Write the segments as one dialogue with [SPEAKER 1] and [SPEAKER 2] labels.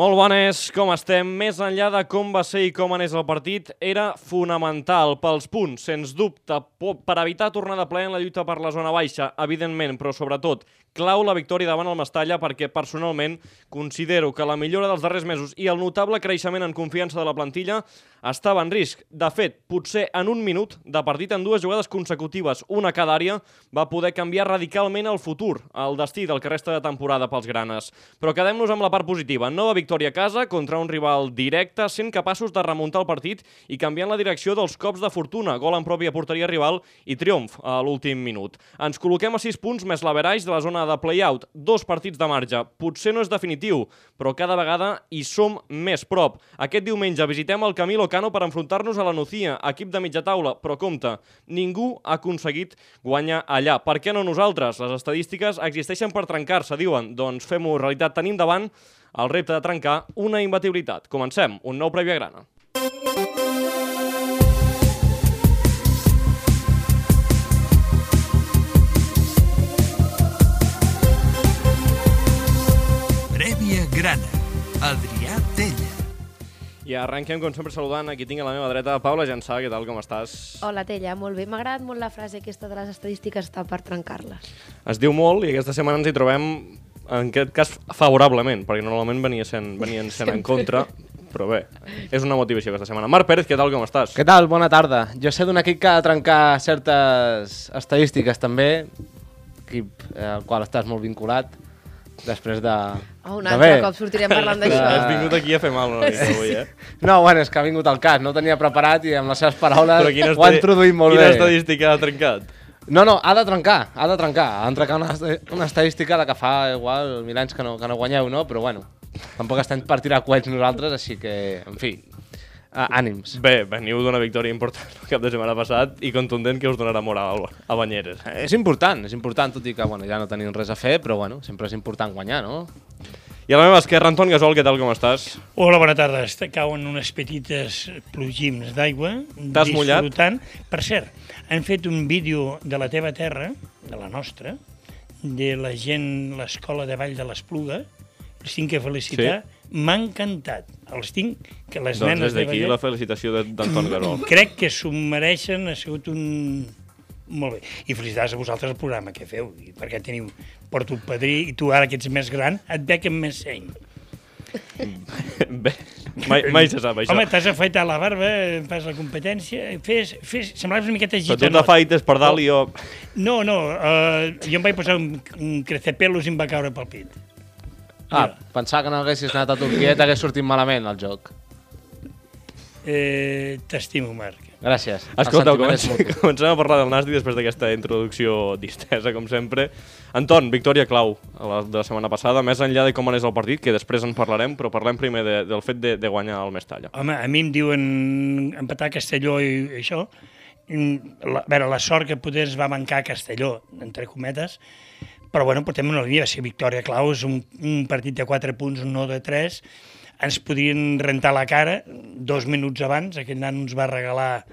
[SPEAKER 1] Molt bones, com estem? Més enllà de com va ser i com anés el partit, era fonamental pels punts, sens dubte, po- per evitar tornar de ple en la lluita per la zona baixa, evidentment, però sobretot, clau la victòria davant el Mestalla perquè personalment considero que la millora dels darrers mesos i el notable creixement en confiança de la plantilla estava en risc. De fet, potser en un minut de partit en dues jugades consecutives, una cada àrea, va poder canviar radicalment el futur, el destí del que resta de temporada pels granes. Però quedem-nos amb la part positiva. Nova victòria a casa contra un rival directe, sent capaços de remuntar el partit i canviant la direcció dels cops de fortuna, gol en pròpia porteria rival i triomf a l'últim minut. Ens col·loquem a 6 punts més l'averaix de la zona de play-out, dos partits de marge. Potser no és definitiu, però cada vegada hi som més prop. Aquest diumenge visitem el Camilo Cano per enfrontar-nos a la Nucía, equip de mitja taula, però compte, ningú ha aconseguit guanyar allà. Per què no nosaltres? Les estadístiques existeixen per trencar-se, diuen. Doncs fem-ho realitat. Tenim davant el repte de trencar una imbatibilitat. Comencem, un nou Prèvia Grana.
[SPEAKER 2] Prèvia Grana. Adrià Tella.
[SPEAKER 1] I arrenquem, com sempre, saludant. Aquí tinc a la meva dreta Paula Jansà. Què tal, com estàs?
[SPEAKER 3] Hola, Tella, molt bé. M'ha agradat molt la frase aquesta de les estadístiques està per trencar-les.
[SPEAKER 1] Es diu molt i aquesta setmana ens hi trobem, en aquest cas, favorablement, perquè normalment venia sent, venien sent en contra, però bé, és una motivació aquesta setmana. Marc Pérez, què tal, com estàs?
[SPEAKER 4] Què tal? Bona tarda. Jo sé d'un equip que ha de trencar certes estadístiques també, equip eh, al qual estàs molt vinculat, després de...
[SPEAKER 3] Oh, un
[SPEAKER 4] de
[SPEAKER 3] altre
[SPEAKER 4] bé.
[SPEAKER 3] cop sortirem parlant
[SPEAKER 4] De-
[SPEAKER 3] d'això.
[SPEAKER 1] Has vingut aquí a fer mal una mica avui, eh?
[SPEAKER 4] No, bueno, és que ha vingut al cas, no ho tenia preparat i amb les seves paraules
[SPEAKER 1] Però quina
[SPEAKER 4] ho ha
[SPEAKER 1] estadi-
[SPEAKER 4] introduït molt
[SPEAKER 1] quina
[SPEAKER 4] bé.
[SPEAKER 1] estadística ha trencat?
[SPEAKER 4] No, no, ha de trencar, ha de trencar. Ha de trencar una, est- una estadística de que fa igual mil anys que no, que no guanyeu, no? Però bueno, tampoc estem per tirar coets nosaltres, així que, en fi, uh, ànims.
[SPEAKER 1] Bé, veniu d'una victòria important el cap de setmana passat i contundent que us donarà moral a Banyeres.
[SPEAKER 4] Eh, És important, és important, tot i que bueno, ja no tenim res a fer, però bueno, sempre és important guanyar, no?
[SPEAKER 1] I a la meva esquerra, Anton Gasol, què tal, com estàs?
[SPEAKER 5] Hola, bona tarda. Està- Cauen unes petites plogims d'aigua.
[SPEAKER 1] T'has mullat?
[SPEAKER 5] disfrutant. Per cert, han fet un vídeo de la teva terra, de la nostra, de la gent, l'escola de Vall de l'Espluga. Els tinc que felicitar. Sí. M'ha encantat. Els tinc, que les
[SPEAKER 1] Doncs
[SPEAKER 5] nenes
[SPEAKER 1] des d'aquí
[SPEAKER 5] de
[SPEAKER 1] la felicitació de- d'Anton Gasol.
[SPEAKER 5] Crec que s'ho mereixen, ha sigut un... Molt bé. I felicitats a vosaltres el programa que feu, i perquè teniu... Porto un padrí i tu ara que ets més gran et veig amb més seny.
[SPEAKER 1] Bé, mai, mai se sap això.
[SPEAKER 5] Home, t'has afaitat la barba, fas la competència, fes, fes, semblaves una miqueta
[SPEAKER 1] Però
[SPEAKER 5] gitanot.
[SPEAKER 1] tu t'afaites per dalt i jo...
[SPEAKER 5] No, no, uh, jo em vaig posar un, un crecepelos i em va caure pel pit.
[SPEAKER 4] Ah, pensar que no haguessis anat a Turquia i t'hagués sortit malament el joc.
[SPEAKER 5] Eh, T'estimo, Marc.
[SPEAKER 4] Gràcies. El
[SPEAKER 1] Escolta,
[SPEAKER 4] sentiment és
[SPEAKER 1] comencem,
[SPEAKER 4] mutu.
[SPEAKER 1] comencem a parlar del Nasti després d'aquesta introducció distesa, com sempre. Anton, victòria clau a la, de la setmana passada, més enllà de com anés el partit, que després en parlarem, però parlem primer de, del fet de, de guanyar el Mestalla.
[SPEAKER 5] Home, a mi em diuen empatar Castelló i això. Mm, La, a veure, la sort que poder es va mancar a Castelló, entre cometes, però bueno, portem una línia, va ser victòria clau, és un, un partit de 4 punts, no de 3, ens podrien rentar la cara dos minuts abans, aquest nano ens va regalar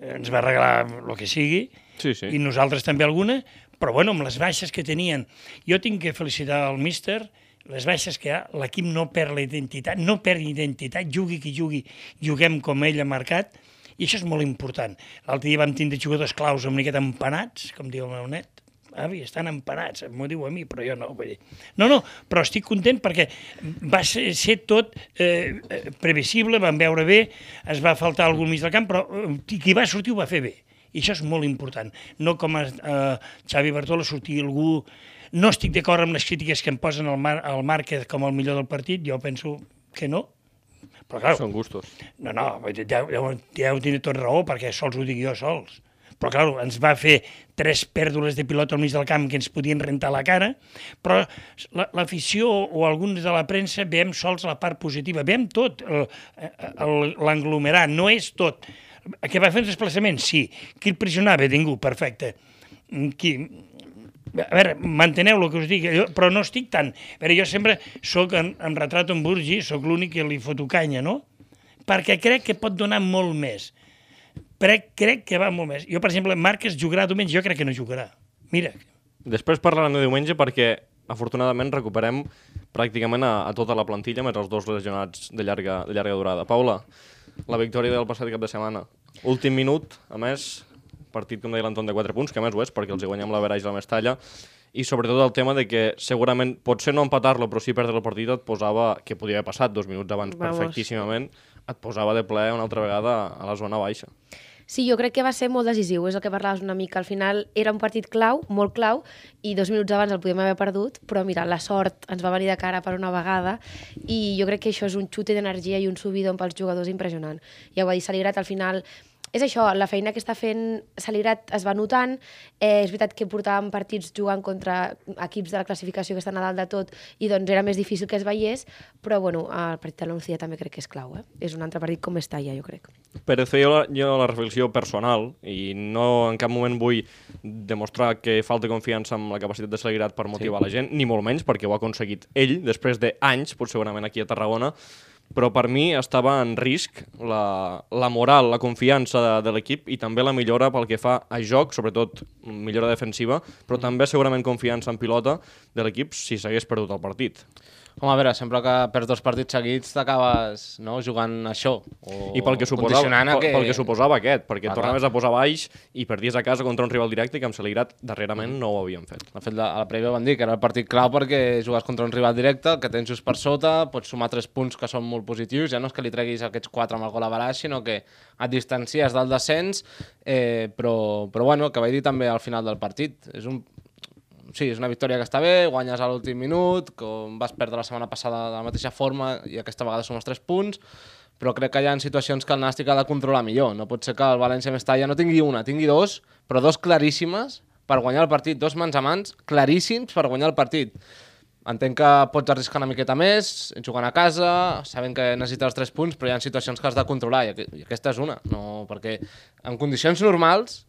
[SPEAKER 5] ens va regalar el que sigui,
[SPEAKER 1] Sí, sí.
[SPEAKER 5] i nosaltres també alguna, però bueno, amb les baixes que tenien. Jo tinc que felicitar el míster, les baixes que hi ha, l'equip no perd la identitat, no perd identitat, jugui qui jugui, juguem com ell ha marcat, i això és molt important. L'altre dia vam tindre jugadors claus una miqueta empanats, com diu el meu net, avi, estan empanats, m'ho diu a mi, però jo no. Vull dir. No, no, però estic content perquè va ser, ser tot eh, eh, previsible, vam veure bé, es va faltar algú al mig del camp, però eh, qui va sortir ho va fer bé. I això és molt important. No com a eh, Xavi Bartolo sortir algú... No estic d'acord amb les crítiques que em posen al, Mar al Márquez com el millor del partit, jo penso que no, però clar,
[SPEAKER 1] Són gustos.
[SPEAKER 5] no, no, vull dir, ja, ja, ja ho tindré tot raó, perquè sols ho dic jo sols. Però, clar, ens va fer tres pèrdules de pilota al mig del camp que ens podien rentar la cara, però la- l'afició o alguns de la premsa veiem sols la part positiva, veiem tot el- el- l'anglomerat, no és tot. Que va fer un desplaçament? Sí. Qui el pressionava? Ningú, perfecte. Mm, Qui, a veure, manteneu el que us dic, jo, però no estic tan... A veure, jo sempre soc, en, em retrato en Burgi, sóc l'únic que li foto canya, no? Perquè crec que pot donar molt més. Crec, crec que va molt més. Jo, per exemple, Marques jugarà diumenge, jo crec que no jugarà. Mira,
[SPEAKER 1] Després parlarem de diumenge perquè afortunadament, recuperem pràcticament a, a tota la plantilla, més els dos lesionats de llarga, de llarga durada. Paula, la victòria del passat cap de setmana. Últim minut, a més, partit, com deia l'Anton, de 4 punts, que a més ho és, perquè els hi guanyem la Veraix i la Mestalla, i sobretot el tema de que segurament, potser no empatar-lo, però sí perdre el partit et posava, que podia haver passat dos minuts abans
[SPEAKER 3] Vamos.
[SPEAKER 1] perfectíssimament, et posava de ple una altra vegada a la zona baixa.
[SPEAKER 3] Sí, jo crec que va ser molt decisiu, és el que parlaves una mica. Al final era un partit clau, molt clau, i dos minuts abans el podíem haver perdut, però mira, la sort ens va venir de cara per una vegada i jo crec que això és un xute d'energia i un subidon pels jugadors impressionant. Ja ho va dir Saligrat, al final és això, la feina que està fent Saligrat es va notant, eh, és veritat que portàvem partits jugant contra equips de la classificació que estan a dalt de tot i doncs era més difícil que es veiés, però bueno, el partit de l'Oncia també crec que és clau, eh? és un altre partit com està ja, jo crec.
[SPEAKER 1] Però feia la, jo la reflexió personal i no en cap moment vull demostrar que falta confiança en la capacitat de Saligrat per motivar sí. la gent, ni molt menys, perquè ho ha aconseguit ell després d'anys, potser segurament aquí a Tarragona, però per mi estava en risc la, la moral, la confiança de, de l'equip i també la millora pel que fa a joc, sobretot millora defensiva, però també segurament confiança en pilota de l'equip si s'hagués perdut el partit.
[SPEAKER 4] Home, a veure, sempre que perds dos partits seguits t'acabes no, jugant a això. O
[SPEAKER 1] I pel que suposava,
[SPEAKER 4] condicionant a
[SPEAKER 1] pel, pel que suposava aquest, perquè
[SPEAKER 4] Ah,
[SPEAKER 1] ah,
[SPEAKER 4] clar.
[SPEAKER 1] tornaves a posar baix i perdies a casa contra un rival directe que amb Saligrat darrerament no ho havien fet.
[SPEAKER 4] De fet, la, a la prèvia van dir que era el partit clau perquè jugues contra un rival directe, el que tens just per sota, pots sumar 3 punts que són molt positius, ja no és que li treguis aquests 4 amb el gol a Baraix, sinó que et distancies del descens, eh, però, però bueno, el que vaig dir també al final del partit, és un, sí, és una victòria que està bé, guanyes a l'últim minut, com vas perdre la setmana passada de la mateixa forma i aquesta vegada sumes 3 punts, però crec que hi ha situacions que el Nàstic ha de controlar millor. No pot ser que el València Mestalla no tingui una, tingui dos, però dos claríssimes per guanyar el partit, dos mans a mans claríssims per guanyar el partit. Entenc que pots arriscar una miqueta més, jugant a casa, sabent que necessites els 3 punts, però hi ha situacions que has de controlar, i aqu- i aquesta és una. No, perquè en condicions normals,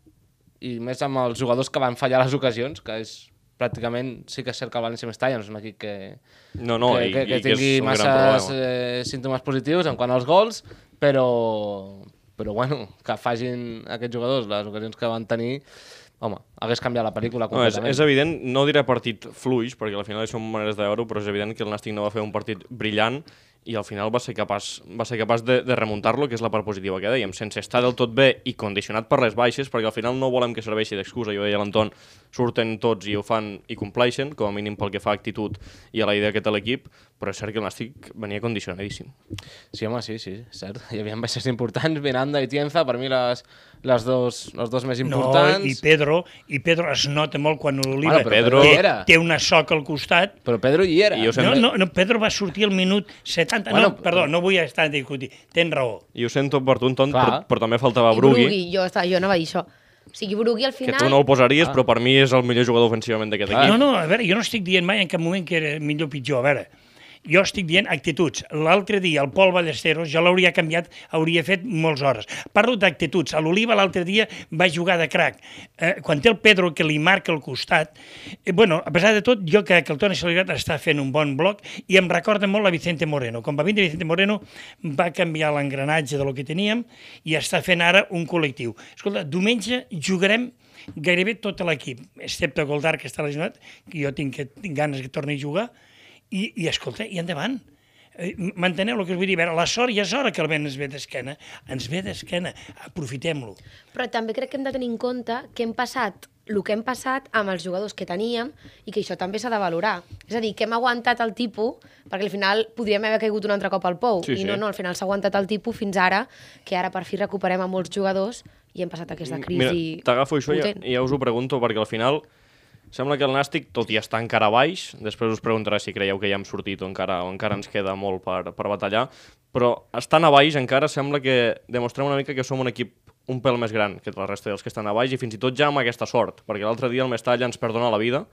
[SPEAKER 4] i més amb els jugadors que van fallar les ocasions, que és pràcticament sí que és cert que el València Mestalla no és un equip que,
[SPEAKER 1] No, no,
[SPEAKER 4] que,
[SPEAKER 1] i,
[SPEAKER 4] que,
[SPEAKER 1] i
[SPEAKER 4] que
[SPEAKER 1] que
[SPEAKER 4] tingui
[SPEAKER 1] és un gran
[SPEAKER 4] masses
[SPEAKER 1] problema.
[SPEAKER 4] eh, símptomes positius en quant als gols, però, però bueno, que facin aquests jugadors les ocasions que van tenir, home, hagués canviat la pel·lícula
[SPEAKER 1] No, és,
[SPEAKER 4] completament.
[SPEAKER 1] és evident, no diré partit fluix, perquè al final són maneres de veure però és evident que el Nàstic no va fer un partit brillant i al final va ser capaç, va ser capaç de, de remuntar-lo, que és la part positiva que dèiem, sense estar del tot bé i condicionat per les baixes, perquè al final no volem que serveixi d'excusa, jo deia a l'Anton, surten tots i ho fan i compleixen, com a mínim pel que fa a actitud i a la idea que té l'equip, però és cert que el Nàstic venia condicionadíssim.
[SPEAKER 4] Sí, home, sí, sí, és cert. Hi havia baixes importants, Miranda i Tienza, per mi les, les, dos, les dos més
[SPEAKER 5] No,
[SPEAKER 4] importants.
[SPEAKER 5] i Pedro, i Pedro es nota molt quan l'Oliva
[SPEAKER 4] Bueno, però
[SPEAKER 1] Pedro-
[SPEAKER 5] té,
[SPEAKER 4] era.
[SPEAKER 5] té una soca al costat
[SPEAKER 4] Però Pedro hi era.
[SPEAKER 1] I jo sempre-
[SPEAKER 5] No, no, no, Pedro va sortir al minut 70... Bueno,
[SPEAKER 4] Bueno,
[SPEAKER 5] no, perdó, no vull estar a discutir. Tens raó.
[SPEAKER 1] I ho sento per tu, Anton,
[SPEAKER 4] Clar.
[SPEAKER 1] però, però també faltava
[SPEAKER 3] I
[SPEAKER 1] Brugui,
[SPEAKER 3] Brugui, jo, està, jo anava a dir això. O sigui, Brugui al
[SPEAKER 1] que
[SPEAKER 3] final...
[SPEAKER 1] tu no el posaries, però per mi és el millor jugador ofensivament d'aquest
[SPEAKER 4] Clar.
[SPEAKER 1] equip.
[SPEAKER 5] No, no, a veure, jo no estic dient mai en cap moment que era millor o pitjor, a veure. Jo estic dient actituds. L'altre dia, el Pol Ballesteros, jo l'hauria canviat, hauria fet molts hores. Parlo d'actituds. A l'Oliva l'altre dia va jugar de crac. Eh, quan té el Pedro que li marca al costat... Eh, bueno, a pesar de tot, jo crec que el Toni Saligrat està fent un bon bloc i em recorda molt a Vicente Moreno. Quan va vindre Vicente Moreno va canviar l'engranatge de lo que teníem i està fent ara un col·lectiu. Escolta, diumenge jugarem gairebé tot l'equip, excepte Goldar, que està lesionat, que jo tinc, que, tinc ganes que torni a jugar, i, i escolta, i endavant. Eh, m- Manteneu el que us vull dir. A veure, la sort ja és hora que el vent ens ve d'esquena. Ens ve d'esquena. Aprofitem-lo.
[SPEAKER 3] Però també crec que hem de tenir en compte que hem passat el que hem passat amb els jugadors que teníem i que això també s'ha de valorar. És a dir, que hem aguantat el tipus, perquè al final podríem haver caigut un altre cop al pou,
[SPEAKER 1] Sí,
[SPEAKER 3] i
[SPEAKER 1] sí.
[SPEAKER 3] no, no, al final s'ha aguantat el tipus fins ara, que ara per fi recuperem a molts jugadors i hem passat aquesta crisi
[SPEAKER 1] Mm, Mira, t'agafo això i ja,
[SPEAKER 3] potent.
[SPEAKER 1] i ja us ho pregunto, perquè al final sembla que el Nàstic, tot i estar encara baix, després us preguntaré si creieu que ja hem sortit o encara, o encara ens queda molt per, per batallar, però estant a baix encara sembla que demostrem una mica que som un equip un pèl més gran que la resta dels que estan a baix i fins i tot ja amb aquesta sort, perquè l'altre dia el Mestalla ens perdona la vida,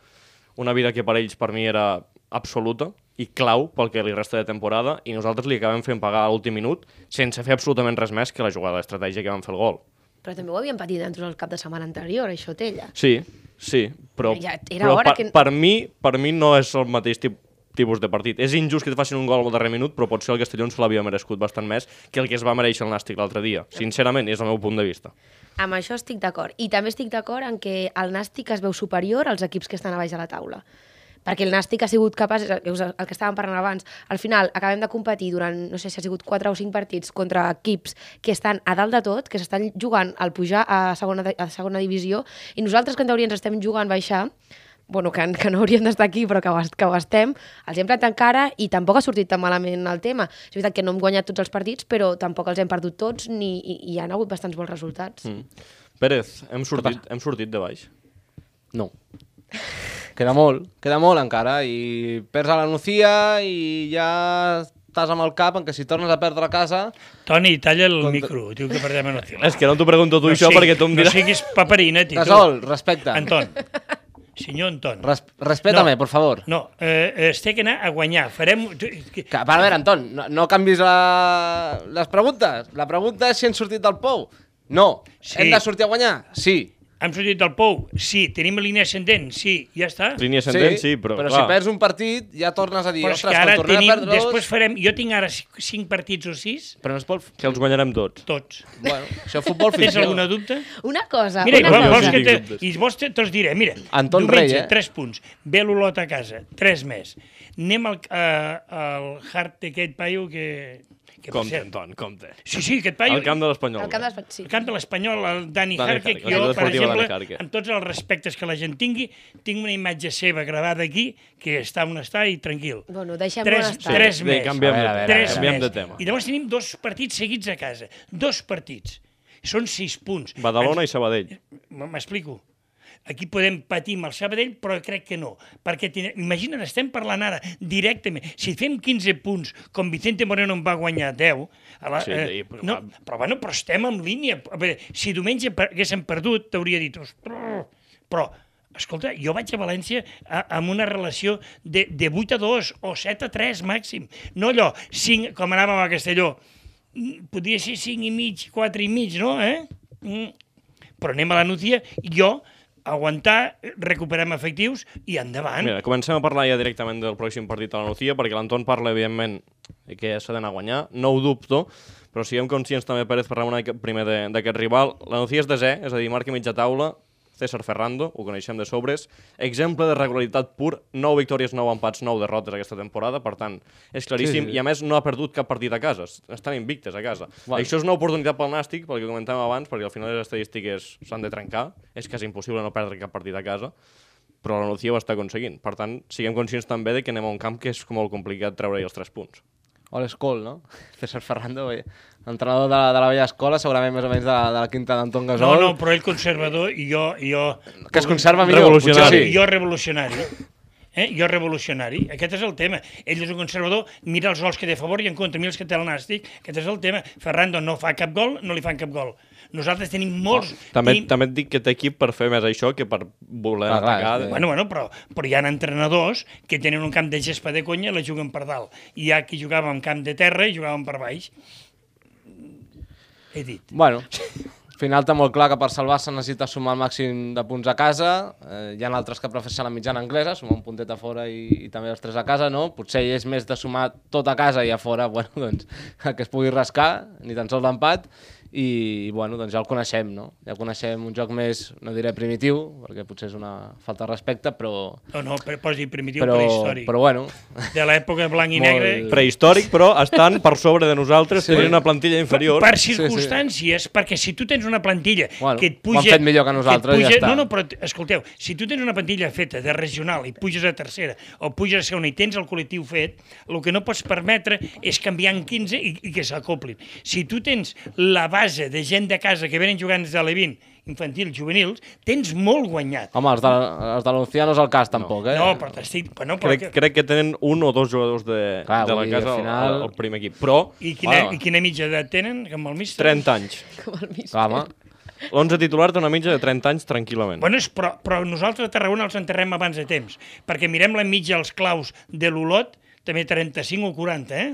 [SPEAKER 1] una vida que per ells per mi era absoluta i clau pel que li resta de temporada i nosaltres li acabem fent pagar a l'últim minut sense fer absolutament res més que la jugada d'estratègia que van fer el gol.
[SPEAKER 3] Però també ho havíem patit dentro del cap de setmana anterior, això té ella.
[SPEAKER 1] Sí, sí, però,
[SPEAKER 3] Ja era
[SPEAKER 1] però per,
[SPEAKER 3] hora que-
[SPEAKER 1] per, mi, per mi no és el mateix tip, tipus de partit. És injust que et facin un gol al darrer minut, però potser el Castellón se l'havia merescut bastant més que el que es va mereixer el Nàstic l'altre dia. Sincerament, és el meu punt de vista.
[SPEAKER 3] Amb això estic d'acord. I també estic d'acord en que el Nàstic es veu superior als equips que estan a baix de la taula. perquè el Nàstic ha sigut capaç, el que us- el que estàvem parlant abans, al final acabem de competir durant, no sé si ha sigut 4 o 5 partits contra equips que estan a dalt de tot, que s'estan jugant al pujar a segona, de- a segona divisió, i nosaltres que en teoria ens estem jugant baixar, bueno, que, que no hauríem d'estar aquí, però que ho, es- que ho estem, els hem plantat cara i tampoc ha sortit tan malament el tema. És veritat que no hem guanyat tots els partits, però tampoc els hem perdut tots ni, i, i hi han hagut bastants bons resultats. Mm.
[SPEAKER 1] Pérez, hem sortit, hem sortit de baix.
[SPEAKER 4] No. Queda molt, queda molt encara, i perds a la Nucía i ja estàs amb el cap en que si tornes a perdre a casa...
[SPEAKER 5] Toni, talla el micro, diu que perdem en el fil.
[SPEAKER 1] És que no t'ho pregunto tu no, això
[SPEAKER 5] sigui-
[SPEAKER 1] perquè tu em
[SPEAKER 5] No
[SPEAKER 1] diràs...
[SPEAKER 5] siguis paperina, tio.
[SPEAKER 4] Gasol, respecta.
[SPEAKER 5] Anton. Senyor Anton.
[SPEAKER 4] Res, respétame,
[SPEAKER 5] No.
[SPEAKER 4] por favor.
[SPEAKER 5] No, eh, es té que anar a guanyar. Farem...
[SPEAKER 4] Que, a veure, Anton, no, no canvis la, les preguntes. La pregunta és si hem sortit del pou. No.
[SPEAKER 5] Sí.
[SPEAKER 4] Sí. Hem de sortir a guanyar? Sí.
[SPEAKER 5] Hem sortit del pou? Sí. Tenim línia ascendent? Sí. Ja està.
[SPEAKER 1] Línia ascendent, sí, però,
[SPEAKER 4] però
[SPEAKER 1] clar,
[SPEAKER 4] si perds un partit ja tornes a dir,
[SPEAKER 5] Però és
[SPEAKER 4] ostres,
[SPEAKER 5] que ara
[SPEAKER 4] quan tornem
[SPEAKER 5] tenim...
[SPEAKER 4] a perdre doncs.
[SPEAKER 5] Després
[SPEAKER 4] dos...
[SPEAKER 5] farem... Jo tinc ara cinc cinc partits o sis,
[SPEAKER 4] Però no es pot...
[SPEAKER 1] que els guanyarem tots.
[SPEAKER 5] tots.
[SPEAKER 4] Bueno, això és futbol
[SPEAKER 5] Tens
[SPEAKER 4] ficció.
[SPEAKER 5] alguna dubte?
[SPEAKER 3] Una cosa,
[SPEAKER 5] Mira,
[SPEAKER 3] una
[SPEAKER 5] igual,
[SPEAKER 1] cosa.
[SPEAKER 5] vols que
[SPEAKER 1] Tinc
[SPEAKER 5] te,
[SPEAKER 1] dubtes.
[SPEAKER 5] I vols te, te'ls diré, mira.
[SPEAKER 4] Anton
[SPEAKER 5] diumenge,
[SPEAKER 4] Rey, eh?
[SPEAKER 5] 3 punts. Ve l'Olot a casa, 3 més. Anem al, a, al hard d'aquest paio que... que per
[SPEAKER 1] Compte,
[SPEAKER 5] cert-
[SPEAKER 1] Anton, compte.
[SPEAKER 5] Sí, sí, aquest paio...
[SPEAKER 1] Al camp de l'Espanyol.
[SPEAKER 3] Al camp de l'Espanyol, sí.
[SPEAKER 5] El camp de l'Espanyol, el Dani,
[SPEAKER 1] Dani
[SPEAKER 5] Dani Harque,
[SPEAKER 1] Jarque,
[SPEAKER 5] que
[SPEAKER 1] el
[SPEAKER 5] jo, per
[SPEAKER 1] Deportiu Dani
[SPEAKER 5] exemple,
[SPEAKER 1] Jarque.
[SPEAKER 5] amb tots els respectes que la gent tingui, tinc una imatge seva gravada aquí, que està on està i tranquil.
[SPEAKER 3] Bueno, deixem-ho
[SPEAKER 5] Tres,
[SPEAKER 3] on està.
[SPEAKER 5] tres
[SPEAKER 1] Sí,
[SPEAKER 5] més.
[SPEAKER 1] canviem
[SPEAKER 4] A veure,
[SPEAKER 1] de
[SPEAKER 4] a
[SPEAKER 1] tema.
[SPEAKER 4] veure, a veure.
[SPEAKER 5] Tres
[SPEAKER 1] Canviem
[SPEAKER 5] més.
[SPEAKER 1] de tema.
[SPEAKER 5] I llavors tenim dos partits seguits a casa. Dos partits. Són sis punts.
[SPEAKER 1] Badalona i Sabadell.
[SPEAKER 5] M- M'explico. Aquí podem patir amb el Sabadell, però crec que no. Perquè, tine- imagina't, estem parlant ara directament. Si fem 15 punts, com Vicente Moreno en va guanyar 10, a la,
[SPEAKER 1] Sí,
[SPEAKER 5] eh,
[SPEAKER 1] i- però-
[SPEAKER 5] no, però, bueno, però estem en línia. A veure, si diumenge per- haguéssim perdut, t'hauria dit... "Ostres". Però, escolta, jo vaig a València a, amb una relació de, de 8 a 2 o 7 a 3 màxim. No allò, 5, com anàvem a Castelló. Mm, Podria ser 5 i mig, 4 i mig, no? Eh? Mm però anem a la Núcia, jo, aguantar, recuperem efectius i endavant.
[SPEAKER 1] Mira, comencem a parlar ja directament del pròxim partit a la Nucía, perquè l'Anton parla, evidentment, que s'ha d'anar a guanyar, no ho dubto, però siguem conscients també, Pérez, parlem una mica primer de- d'aquest rival. La Nucía és desè, és a dir, marca mitja taula, César Ferrando, ho coneixem de sobres, exemple de regularitat pur, 9 victòries, 9 empats, 9 derrotes aquesta temporada, per tant, és claríssim,
[SPEAKER 4] Sí,
[SPEAKER 1] sí,
[SPEAKER 4] sí,
[SPEAKER 1] sí.
[SPEAKER 4] sí.
[SPEAKER 1] i a més no ha perdut cap partit a casa, es- estan invictes a casa. Bueno. Això és una oportunitat pel Nàstic, pel que comentàvem abans, perquè al final les estadístiques s'han de trencar, és quasi impossible no perdre cap partit a casa, però la Nucía ho està aconseguint. Per tant, siguem conscients també de que anem a un camp que és molt complicat treure-hi els tres punts.
[SPEAKER 4] All School, no? César Ferrando, eh? entrenador de la, de la vella escola, segurament més o menys de la, de la quinta d'Anton
[SPEAKER 5] no,
[SPEAKER 4] Gasol.
[SPEAKER 5] no, però ell conservador i jo... i jo
[SPEAKER 4] Que es conserva millor, potser
[SPEAKER 1] Revolucionari.
[SPEAKER 4] sí.
[SPEAKER 5] Jo revolucionari. Eh? Jo revolucionari. Aquest és el tema. Ell és un conservador, mira els gols que té a favor i en contra, mira els que té el nàstic. Aquest és el tema. Ferrando no fa cap gol, no li fan cap gol. Nosaltres tenim molts...
[SPEAKER 1] També,
[SPEAKER 5] tenim...
[SPEAKER 1] també et dic que té equip per fer més això que per voler
[SPEAKER 4] Ah, clar,
[SPEAKER 1] atacar.
[SPEAKER 4] és que-
[SPEAKER 5] Bueno, bueno, però, però hi ha entrenadors que tenen un camp de gespa de conya i la juguen per dalt. Hi ha qui jugava en camp de terra i jugaven per baix. He dit.
[SPEAKER 4] Bueno, al final està molt clar que per salvar-se necessita sumar el màxim de punts a casa. Eh, hi ha altres que prefereixen la mitjana anglesa, sumar un puntet a fora i, i també els tres a casa, no? Potser ell és més de sumar tot a casa i a fora, bueno, doncs, el que es pugui rascar, ni tan sols l'empat, i, bueno, doncs ja el coneixem, no? Ja coneixem un joc més, no diré primitiu, perquè potser és una falta de respecte, però...
[SPEAKER 5] No, no, pre- posi primitiu
[SPEAKER 4] Però,
[SPEAKER 5] prehistòric.
[SPEAKER 4] però bueno,
[SPEAKER 5] De l'època blanc i
[SPEAKER 4] Molt-
[SPEAKER 5] negre,
[SPEAKER 1] Prehistòric, però estan per sobre de nosaltres,
[SPEAKER 4] Sí.
[SPEAKER 1] sí. tenint una plantilla inferior.
[SPEAKER 5] per
[SPEAKER 4] sí.
[SPEAKER 5] circumstàncies, perquè si tu tens una plantilla
[SPEAKER 4] Bueno,
[SPEAKER 5] que et
[SPEAKER 4] ho han
[SPEAKER 5] puja...
[SPEAKER 4] fet millor que nosaltres,
[SPEAKER 5] et
[SPEAKER 4] ja està.
[SPEAKER 5] No, no, però t- escolteu, si tu tens una plantilla feta de regional i puges a tercera o puges a segona i tens el col·lectiu fet, el que no pots permetre és canviar en 15 i, i que s'acoplin. Si tu tens la base de gent de casa que venen jugant des de l'E20, infantils, juvenils, tens molt guanyat.
[SPEAKER 4] home, els de, els de l'Anuncia no és el cas, tampoc, eh?
[SPEAKER 5] No, però t'estic... Bueno, però
[SPEAKER 1] Crec, crec que tenen un o dos jugadors de,
[SPEAKER 4] Clar,
[SPEAKER 1] de
[SPEAKER 4] vull
[SPEAKER 1] la
[SPEAKER 4] dir,
[SPEAKER 1] casa
[SPEAKER 4] al
[SPEAKER 1] al,
[SPEAKER 4] final-
[SPEAKER 1] al primer equip. Però
[SPEAKER 5] I quina,
[SPEAKER 4] Bueno.
[SPEAKER 5] I quina mitja edat tenen, amb el míster?
[SPEAKER 1] 30 anys.
[SPEAKER 3] com el mig.
[SPEAKER 4] Clar, home.
[SPEAKER 1] L'11 titular té una mitja de 30 anys tranquil·lament.
[SPEAKER 5] Bueno, és, però, però nosaltres a Tarragona els enterrem abans de temps, perquè mirem la mitja als claus de l'Olot, també 35 o 40, eh?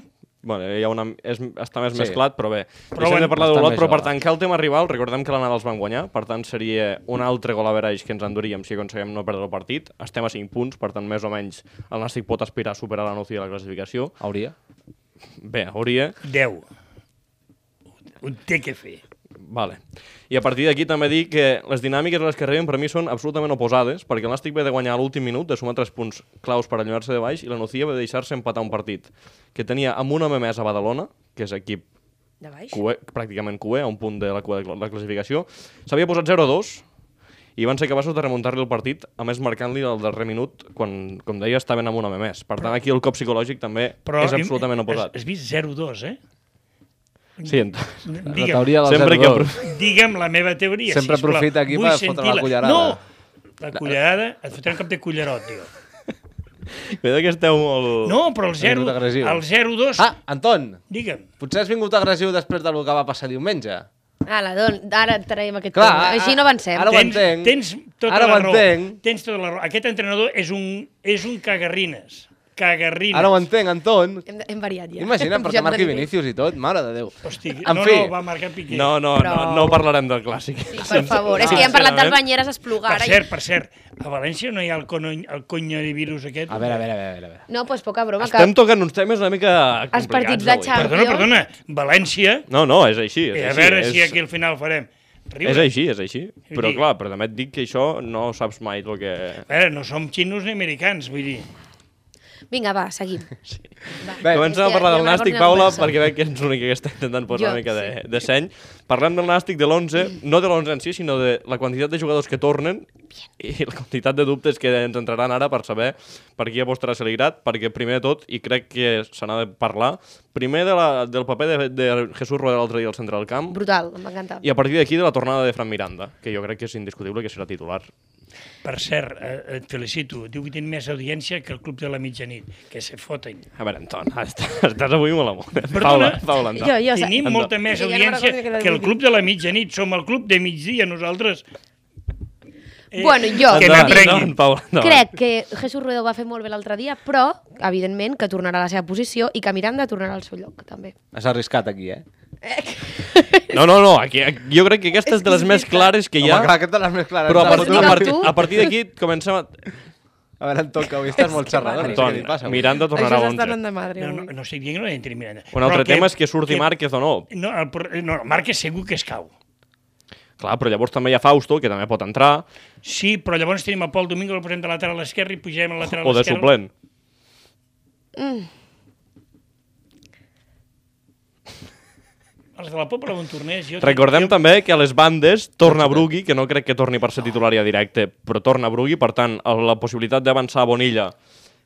[SPEAKER 1] Bueno, hi ha una, és, està més
[SPEAKER 4] Sí.
[SPEAKER 1] sí. mesclat, però bé.
[SPEAKER 5] Però
[SPEAKER 1] Però Deixem
[SPEAKER 5] bueno,
[SPEAKER 1] de parlar
[SPEAKER 4] bastant
[SPEAKER 1] d'Olot,
[SPEAKER 4] més
[SPEAKER 1] però per
[SPEAKER 4] jove.
[SPEAKER 1] tancar el tema rival, recordem que l'anada els van guanyar, per tant seria un altre gol a veraix que ens enduríem si aconseguim no perdre el partit. Estem a 5 punts, per tant més o menys el Nàstic pot aspirar a superar la Nucía a la classificació.
[SPEAKER 4] Hauria.
[SPEAKER 1] Bé, hauria.
[SPEAKER 5] 10. Ho té que fer.
[SPEAKER 1] Vale. I a partir d'aquí també dic que les dinàmiques a les que arriben per mi són absolutament oposades, perquè l'Àstic ve de guanyar a l'últim minut, de sumar 3 punts claus per allunyar-se de baix, i la Nucía va deixar-se empatar un partit que tenia amb una home més a Badalona, que és equip
[SPEAKER 3] De baix?
[SPEAKER 1] cué, pràcticament cué, a un punt de la cua de cla- la classificació. S'havia posat 0-2 i van ser capaços de remuntar-li el partit, a més marcant-li el darrer minut, quan, com deia, estaven amb una home més. Per tant, aquí el cop psicològic també Però, és absolutament oposat.
[SPEAKER 5] Has, has vist 0-2, eh?
[SPEAKER 1] Sí, ent-
[SPEAKER 5] Digue'm,
[SPEAKER 4] La teoria del
[SPEAKER 1] sempre que...
[SPEAKER 4] 0-2.
[SPEAKER 1] apro-
[SPEAKER 5] digue'm la meva teoria,
[SPEAKER 4] Sempre
[SPEAKER 5] sisplau.
[SPEAKER 4] aprofita aquí
[SPEAKER 5] Vull
[SPEAKER 4] per fotre la
[SPEAKER 5] sentir-la.
[SPEAKER 4] cullerada.
[SPEAKER 5] No! La cullerada, et fotré un cap de cullerot, tio.
[SPEAKER 1] Cuidado que esteu molt...
[SPEAKER 5] No, però el 0,
[SPEAKER 4] minut agressiu.
[SPEAKER 5] el 0-2,
[SPEAKER 4] Oh. Ah, Anton,
[SPEAKER 5] digue'm.
[SPEAKER 4] potser has vingut agressiu després del que va passar diumenge.
[SPEAKER 3] Ala, doncs, ara traiem aquest
[SPEAKER 4] Clar,
[SPEAKER 3] tema. Així
[SPEAKER 4] a-
[SPEAKER 3] no avancem.
[SPEAKER 4] ara ho
[SPEAKER 5] Tens,
[SPEAKER 4] entenc.
[SPEAKER 5] tens tota
[SPEAKER 4] Ara
[SPEAKER 5] la
[SPEAKER 4] ho entenc.
[SPEAKER 5] raó. Tens tota la raó. Aquest entrenador és un, és un cagarrines. Cagarrines.
[SPEAKER 4] Ara ho entenc, Anton.
[SPEAKER 3] Hem, hem variat ja.
[SPEAKER 4] Imagina't,
[SPEAKER 3] Hem pujat
[SPEAKER 4] perquè
[SPEAKER 3] de
[SPEAKER 4] marqui
[SPEAKER 3] nivell.
[SPEAKER 4] Vinícius i tot, mare de Déu.
[SPEAKER 5] Hosti,
[SPEAKER 4] en
[SPEAKER 5] no,
[SPEAKER 4] fi,
[SPEAKER 5] no, va marcar Piqué.
[SPEAKER 1] No, no, no,
[SPEAKER 3] Però-
[SPEAKER 1] no parlarem del clàssic.
[SPEAKER 3] Sí, per favor. És que ja hem parlat del Banyeres a Esplugar.
[SPEAKER 5] Per
[SPEAKER 3] ara i-
[SPEAKER 5] cert, per cert, a València no hi ha el, cono, el conyorivirus aquest?
[SPEAKER 4] A veure, a veure, a veure. A veure.
[SPEAKER 3] No, doncs poca broma.
[SPEAKER 1] Estem
[SPEAKER 3] que...
[SPEAKER 1] tocant uns temes una mica complicats
[SPEAKER 3] Els partits de
[SPEAKER 1] avui.
[SPEAKER 3] Champions.
[SPEAKER 5] Perdona, perdona, València,
[SPEAKER 1] No, no, és així. És
[SPEAKER 5] eh, a
[SPEAKER 1] així,
[SPEAKER 5] veure
[SPEAKER 1] és,
[SPEAKER 5] si aquí al final farem. Riure.
[SPEAKER 1] És així, és així. Però
[SPEAKER 5] dir-
[SPEAKER 1] clar, però també et dic que això no saps mai el que...
[SPEAKER 5] A veure, no som xinos ni americans, vull dir.
[SPEAKER 3] Vinga, va, seguim.
[SPEAKER 4] Bé,
[SPEAKER 1] Comença a
[SPEAKER 3] és que
[SPEAKER 1] parlar
[SPEAKER 3] ja
[SPEAKER 1] del
[SPEAKER 3] m'ha
[SPEAKER 1] Nàstic,
[SPEAKER 3] recordat
[SPEAKER 1] Paula,
[SPEAKER 3] Barça.
[SPEAKER 1] perquè veig que és l'únic que està intentant posar
[SPEAKER 3] Jo,
[SPEAKER 1] una mica de, de seny. Parlem del Nàstic de l'11, no de l'11 en si, sinó de la quantitat de jugadors que tornen i la quantitat de dubtes que ens entraran ara per saber per qui apostarà Celigrat, perquè primer de tot, i crec que se n'ha de parlar, primer de la, del paper de, de Jesús Rodríguez l'altre dia al centre del camp,
[SPEAKER 3] Brutal, m'encanta.
[SPEAKER 1] i a partir d'aquí de la tornada de Fran Miranda, que jo crec que és indiscutible que serà titular.
[SPEAKER 5] Per cert, eh, et felicito, diu que tenen més audiència que el Club de la Mitjanit, que se foten.
[SPEAKER 1] A veure, Anton, estàs, estàs avui molt amunt. eh?
[SPEAKER 5] Perdona.
[SPEAKER 1] Paula, Paula, Anton.
[SPEAKER 3] Jo, jo,
[SPEAKER 5] Tenim
[SPEAKER 1] Anda.
[SPEAKER 5] molta més
[SPEAKER 3] Sí, ja no me'n recordo
[SPEAKER 5] audiència
[SPEAKER 3] que
[SPEAKER 5] que,
[SPEAKER 3] l'havia
[SPEAKER 5] el
[SPEAKER 3] dit.
[SPEAKER 5] Club de la Mitjanit. Som el Club de migdia, nosaltres.
[SPEAKER 3] Bueno, jo
[SPEAKER 5] Que
[SPEAKER 1] Endavant,
[SPEAKER 5] n'aprenguin.
[SPEAKER 1] endavant, Paula, endavant.
[SPEAKER 3] crec que Jesús Rueda ho va fer molt bé l'altre dia, però, evidentment, que tornarà a la seva posició i que Miranda tornarà al seu lloc, també.
[SPEAKER 4] Has arriscat aquí, eh?
[SPEAKER 1] No, no, no, aquí, aquí- jo crec que aquesta és de les més clares que hi ha.
[SPEAKER 4] Home, clar, aquesta és la més clara.
[SPEAKER 1] Però a,
[SPEAKER 4] Ens
[SPEAKER 3] Pots
[SPEAKER 1] part,
[SPEAKER 4] ha
[SPEAKER 1] a,
[SPEAKER 3] dir-ho
[SPEAKER 4] fotut-
[SPEAKER 1] partir,
[SPEAKER 3] tu?
[SPEAKER 1] a partir d'aquí comencem... A...
[SPEAKER 4] A veure, Anton, que avui estàs molt xerrador.
[SPEAKER 1] Anton, Miranda tornarà a
[SPEAKER 3] Això
[SPEAKER 1] 11.
[SPEAKER 3] està anant de madre.
[SPEAKER 5] No, no,
[SPEAKER 3] avui.
[SPEAKER 5] no estic dient que no entri Miranda.
[SPEAKER 1] Un
[SPEAKER 5] Però
[SPEAKER 1] altre tema és que surti Márquez o no.
[SPEAKER 5] No, el, pro- no, el Márquez segur que es cau.
[SPEAKER 1] Clar, però llavors també hi ha Fausto, que també pot entrar,
[SPEAKER 5] Sí, però llavors tenim a Pol Domingo, el posem de lateral a l'esquerra i pugem a lateral
[SPEAKER 1] o de
[SPEAKER 5] esquerra.
[SPEAKER 1] suplent.
[SPEAKER 5] Els de la Pobla on tornés. Jo
[SPEAKER 1] Recordem
[SPEAKER 5] jo,
[SPEAKER 1] també que a les bandes torna Brugui, que no crec que torni per ser titulària directe, però torna Brugui, per tant, el- la possibilitat d'avançar a Bonilla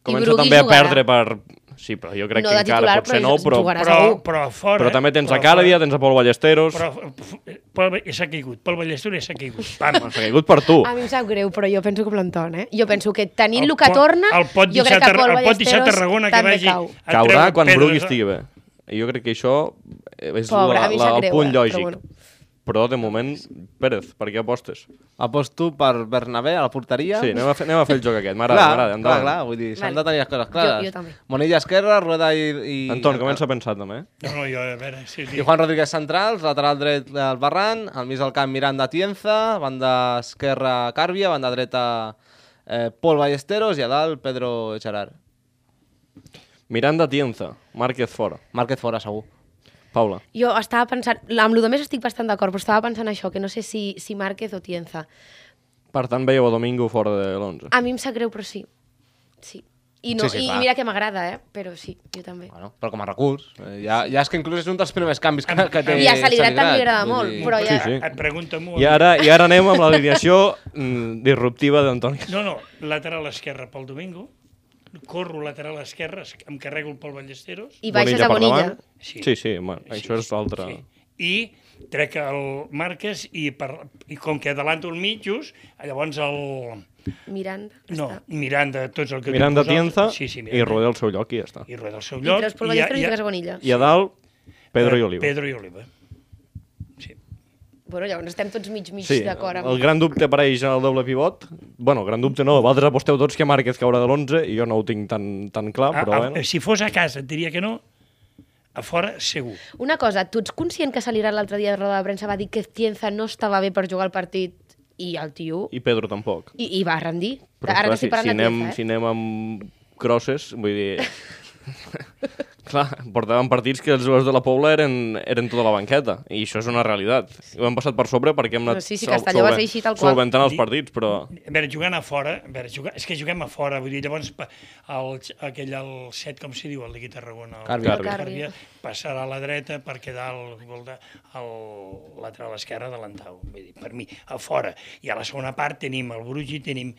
[SPEAKER 1] comença
[SPEAKER 3] Brugui
[SPEAKER 1] també a
[SPEAKER 3] jugarà.
[SPEAKER 1] perdre per... Sí, però jo crec
[SPEAKER 3] No
[SPEAKER 1] que
[SPEAKER 3] de
[SPEAKER 1] encara
[SPEAKER 3] titular,
[SPEAKER 1] potser
[SPEAKER 3] però
[SPEAKER 1] no,
[SPEAKER 3] ju-
[SPEAKER 1] però,
[SPEAKER 3] jugarà.
[SPEAKER 5] Però,
[SPEAKER 3] segur.
[SPEAKER 5] però a fora...
[SPEAKER 1] però també tens a
[SPEAKER 5] però
[SPEAKER 1] Càladia,
[SPEAKER 5] fora-
[SPEAKER 1] tens a Pol Ballesteros,
[SPEAKER 5] Però, Pol, s'ha caigut. Pol Ballesteros s'ha caigut. Vamos.
[SPEAKER 1] s'ha caigut per tu.
[SPEAKER 3] A mi em sap greu, però jo penso que planton, eh? Jo penso que tenint el,
[SPEAKER 5] El
[SPEAKER 3] que
[SPEAKER 5] pot-
[SPEAKER 3] torna,
[SPEAKER 5] el pot
[SPEAKER 3] jo
[SPEAKER 5] deixar
[SPEAKER 3] crec que
[SPEAKER 5] Tar-
[SPEAKER 3] Pol
[SPEAKER 5] el pot deixar
[SPEAKER 3] Ballesteros
[SPEAKER 5] Tarragona que
[SPEAKER 3] també
[SPEAKER 5] vagi-
[SPEAKER 3] cau.
[SPEAKER 5] a
[SPEAKER 1] Caurà
[SPEAKER 5] treure
[SPEAKER 1] quan
[SPEAKER 5] pedres
[SPEAKER 1] Brugui
[SPEAKER 5] a-
[SPEAKER 1] estigui bé. I jo crec que això eh, és
[SPEAKER 3] Pobre,
[SPEAKER 1] la,
[SPEAKER 3] a mi em
[SPEAKER 1] la,
[SPEAKER 3] sap
[SPEAKER 1] el
[SPEAKER 3] greu,
[SPEAKER 1] punt
[SPEAKER 3] eh, però
[SPEAKER 1] lògic. Però,
[SPEAKER 3] bueno.
[SPEAKER 1] de moment, Pérez, per què apostes?
[SPEAKER 4] Aposto per Bernabé a la porteria.
[SPEAKER 1] Sí, anem a fer, anem a fer el joc aquest. M'agrada,
[SPEAKER 4] clar,
[SPEAKER 1] m'agrada.
[SPEAKER 4] clar,
[SPEAKER 1] endavant.
[SPEAKER 4] clar, vull dir, s'han
[SPEAKER 3] Vale.
[SPEAKER 4] de tenir les coses
[SPEAKER 3] Jo-
[SPEAKER 4] clares.
[SPEAKER 3] jo també.
[SPEAKER 4] Monella esquerra, Rueda i... i
[SPEAKER 1] Anton, comença a pensar també. eh?
[SPEAKER 5] No, no, jo, a veure... Sí, sí.
[SPEAKER 4] I Juan Rodríguez centrals, lateral dret el Barran, al mig del camp Miranda Tienza, banda esquerra Càrbia, banda dreta eh, Pol Ballesteros i a dalt Pedro Gerard.
[SPEAKER 1] Miranda Tienza, Márquez fora.
[SPEAKER 4] Márquez fora, segur.
[SPEAKER 1] Paula.
[SPEAKER 3] Jo estava pensant, amb el de més estic bastant d'acord, però estava pensant això, que no sé si, si Márquez o Tienza.
[SPEAKER 1] Per tant, veieu a Domingo fora de l'11.
[SPEAKER 3] A mi em sap greu, però sí. Sí. I, no,
[SPEAKER 4] Sí, sí,
[SPEAKER 3] i
[SPEAKER 4] clar.
[SPEAKER 3] mira que m'agrada, eh? Però sí, jo també.
[SPEAKER 4] Bueno, però com a recurs. Eh, ja, ja és que inclús és un dels primers canvis que, que té
[SPEAKER 3] I a Saligrat també li agrada
[SPEAKER 4] Vull
[SPEAKER 3] molt,
[SPEAKER 4] dir-
[SPEAKER 3] però ja...
[SPEAKER 1] Sí, sí.
[SPEAKER 5] Et pregunta-m'ho.
[SPEAKER 1] I ara, I ara anem amb l'alineació mm, disruptiva d'Antoni.
[SPEAKER 5] No, no, lateral esquerra pel Domingo, corro lateral esquerra, es- em carrego el Pol Ballesteros,
[SPEAKER 3] I baixes a Bonilla.
[SPEAKER 1] Sí,
[SPEAKER 5] Sí.
[SPEAKER 1] sí, sí bueno, això és altre...
[SPEAKER 5] sí. i trec el Marques i, per, i com que adelanto el mig just, llavors el...
[SPEAKER 3] Miranda.
[SPEAKER 5] No,
[SPEAKER 3] està.
[SPEAKER 5] Miranda, tots el que...
[SPEAKER 1] Miranda
[SPEAKER 5] diu vosaltres.
[SPEAKER 1] Tienza
[SPEAKER 5] Sí, sí,
[SPEAKER 1] i
[SPEAKER 5] Miranda.
[SPEAKER 1] Rodé al seu lloc i ja està.
[SPEAKER 5] I Rueda al seu
[SPEAKER 3] I
[SPEAKER 5] lloc.
[SPEAKER 3] treus Pol
[SPEAKER 5] i ja-
[SPEAKER 3] Ballesteros i
[SPEAKER 5] ja-
[SPEAKER 3] treus Bonilla.
[SPEAKER 1] I a dalt, Pedro i Oliva.
[SPEAKER 5] Ah, Pedro i Oliva. Sí.
[SPEAKER 3] Bueno, llavors estem tots mig, mig
[SPEAKER 1] Sí,
[SPEAKER 3] d'acord amb...
[SPEAKER 1] el gran dubte per ells en el doble pivot. bueno, gran dubte no, vosaltres aposteu tots que Márquez caurà de l'11 i jo no ho tinc tan, tan clar,
[SPEAKER 5] A,
[SPEAKER 1] Ah, però
[SPEAKER 5] a,
[SPEAKER 1] bueno.
[SPEAKER 5] Ah, Si fos a casa et diria que no, a fora segur.
[SPEAKER 3] Una cosa, tu ets conscient que Salirà l'altre dia de roda de premsa va dir que Cienza no estava bé per jugar al partit i el tio...
[SPEAKER 1] I
[SPEAKER 3] I,
[SPEAKER 1] Pedro tampoc.
[SPEAKER 3] i, va rendir.
[SPEAKER 1] Però,
[SPEAKER 3] Ara
[SPEAKER 1] clar,
[SPEAKER 3] eh? que estic parlant
[SPEAKER 1] si,
[SPEAKER 3] de
[SPEAKER 1] anem,
[SPEAKER 3] Cienza, eh?
[SPEAKER 1] si anem amb crosses, vull dir... Clar, portaven partits que els jugadors de la Pobla eren, eren tota la banqueta, i això és una realitat. Ho hem passat per sobre perquè hem anat
[SPEAKER 3] No, sí, sí,
[SPEAKER 1] sol-
[SPEAKER 3] Castelló va ser així, tal qual.
[SPEAKER 1] solventant els
[SPEAKER 5] Di-
[SPEAKER 1] partits, però...
[SPEAKER 5] A veure, jugant a fora, a veure, jugar, és que juguem a fora, vull dir, llavors pa- el, aquell, el set, com s'hi diu, el Ligui Tarragona, el
[SPEAKER 4] Carvi.
[SPEAKER 1] El Carvi.
[SPEAKER 5] Carvi, passarà a la dreta per quedar el gol de el lateral esquerre de l'Antau, vull dir, per mi, a fora. I a la segona part tenim el Brugi, tenim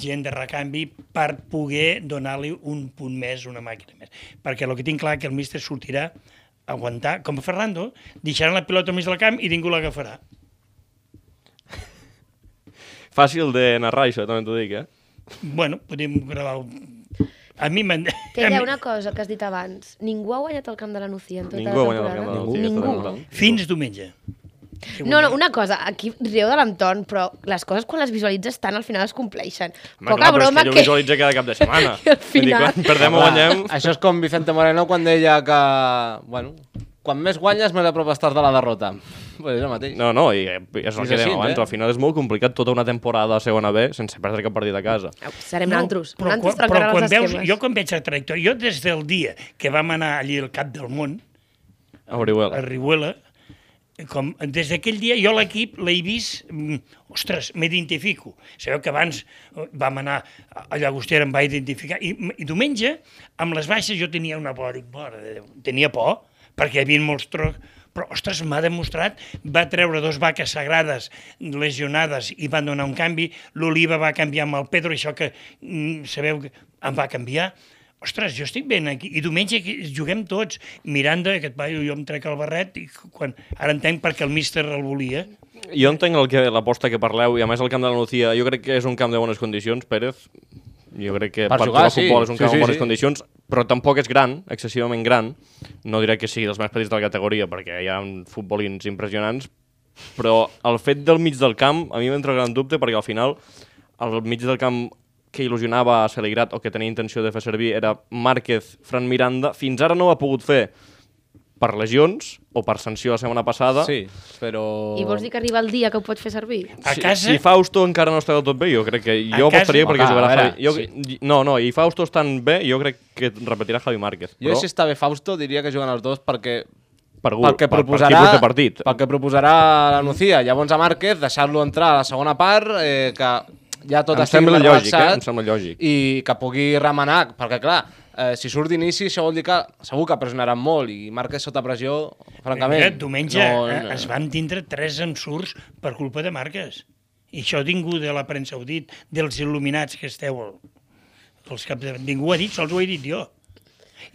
[SPEAKER 5] gent de recanvi per poder donar-li un punt més, una màquina més. Perquè el que tinc clar que el míster sortirà a aguantar, com Fernando, deixarà la pilota al mig del camp i ningú l'agafarà.
[SPEAKER 1] Fàcil de narrar, això, també t'ho dic, eh?
[SPEAKER 5] Bueno, podem gravar... un- A mi m'han... a
[SPEAKER 3] Tella,
[SPEAKER 5] mi-
[SPEAKER 3] una cosa que has dit abans. Ningú ha guanyat el Camp de la Nucía en tota
[SPEAKER 1] Ningú ha
[SPEAKER 3] la
[SPEAKER 1] guanyat el camp
[SPEAKER 3] temporada.
[SPEAKER 1] de la
[SPEAKER 4] Ningú.
[SPEAKER 1] Nucía. aquesta
[SPEAKER 3] Ningú.
[SPEAKER 1] temporada.
[SPEAKER 5] Fins diumenge.
[SPEAKER 3] No, no, una cosa, aquí riu de l'entorn, però les coses quan les visualitzes tant al final es compleixen.
[SPEAKER 1] Home,
[SPEAKER 3] Poca
[SPEAKER 1] clar, però
[SPEAKER 3] broma
[SPEAKER 1] és que,
[SPEAKER 3] que...
[SPEAKER 1] jo visualitza cada cap de setmana.
[SPEAKER 3] que al
[SPEAKER 1] Vull dir,
[SPEAKER 3] final-
[SPEAKER 1] quan perdem o
[SPEAKER 4] Clar,
[SPEAKER 1] guanyem...
[SPEAKER 4] Això és com Vicente Moreno quan deia que... Bueno, quan més guanyes, més a prop estàs de la derrota. Pues és el mateix.
[SPEAKER 1] No, no, i eh, és el
[SPEAKER 4] És
[SPEAKER 1] que
[SPEAKER 4] així,
[SPEAKER 1] dèiem abans,
[SPEAKER 4] eh?
[SPEAKER 1] al final és molt complicat tota una temporada a segona B sense perdre cap partit a casa.
[SPEAKER 3] Au, Serem nantros.
[SPEAKER 5] però,
[SPEAKER 3] nantros
[SPEAKER 5] quan, però
[SPEAKER 3] trencaran
[SPEAKER 5] quan
[SPEAKER 3] els
[SPEAKER 5] veus,
[SPEAKER 3] esquemes.
[SPEAKER 5] jo quan veig la trajectòria, jo des del dia que vam anar allí al cap del món,
[SPEAKER 1] A Orihuela.
[SPEAKER 5] a Riuela, com, des d'aquell dia jo l'equip l'he vist, mm, ostres, m'identifico. Sabeu que abans eh, vam anar a a Llagostera, em va identificar, i, i diumenge, amb les baixes, jo tenia una por, dic, mare de Déu, tenia por, perquè hi havia molts trocs, però, ostres, m'ha demostrat, va treure dos vaques sagrades lesionades i van donar un canvi, l'Oliva va canviar amb el Pedro, això que mm, sabeu que em va canviar, ostres, jo estic ben aquí, i diumenge aquí juguem tots, Miranda, aquest paio, jo em trec el barret, i quan, ara entenc perquè el míster el volia,
[SPEAKER 1] Jo entenc el que l'aposta que parleu, i a més el camp de la Nucía, jo crec que és un camp de bones condicions, Pérez. Jo crec que
[SPEAKER 4] Per
[SPEAKER 1] per,
[SPEAKER 4] jugar,
[SPEAKER 1] jugar, a
[SPEAKER 4] sí.
[SPEAKER 1] futbol és un
[SPEAKER 4] Sí,
[SPEAKER 1] camp
[SPEAKER 4] sí,
[SPEAKER 1] en bones
[SPEAKER 4] sí.
[SPEAKER 1] condicions, però tampoc és gran, excessivament gran. No diré que sigui dels més petits de la categoria, perquè hi ha futbolins impressionants, però el fet del mig del camp a mi m'entra gran dubte, perquè al final el mig del camp que il·lusionava a Celigrat o que tenia intenció de fer servir era Márquez, Fran Miranda, fins ara no ho ha pogut fer per lesions o per sanció la setmana passada.
[SPEAKER 4] Sí, però...
[SPEAKER 3] I vols dir que arriba el dia que ho pots fer servir?
[SPEAKER 5] a
[SPEAKER 1] Si-
[SPEAKER 5] casa...
[SPEAKER 1] Si Fausto encara no està del tot bé, jo crec que... Jo
[SPEAKER 5] casa-
[SPEAKER 1] apostaria perquè
[SPEAKER 4] Home,
[SPEAKER 1] jugarà
[SPEAKER 4] a veure,
[SPEAKER 1] Javi... Jo, No, no, i Fausto estant bé, jo crec que repetirà Javi Márquez.
[SPEAKER 4] Jo,
[SPEAKER 1] Però
[SPEAKER 4] si està bé Fausto, diria que juguen els dos perquè
[SPEAKER 1] per, gu-
[SPEAKER 4] pel que
[SPEAKER 1] per,
[SPEAKER 4] proposarà,
[SPEAKER 1] per tipus de partit.
[SPEAKER 4] Pel que proposarà la Nucía. Llavors a Márquez, deixar-lo entrar a la segona part, eh, que ja tot
[SPEAKER 1] Em
[SPEAKER 4] estigui
[SPEAKER 1] sembla
[SPEAKER 4] més
[SPEAKER 1] lògic,
[SPEAKER 4] relaxat
[SPEAKER 1] eh? Em sembla lògic.
[SPEAKER 4] I que pugui remenar, perquè clar, eh, si surt d'inici, això vol dir que segur que pressionaran molt i Márquez sota pressió, francament...
[SPEAKER 5] Mira, eh, diumenge
[SPEAKER 4] no- eh,
[SPEAKER 5] no, no. es van tindre tres ensurts per culpa de marques. I això ningú de la premsa ho ha dit, dels il·luminats que esteu... Els caps de... Ningú ho ha dit, sols ho he dit jo.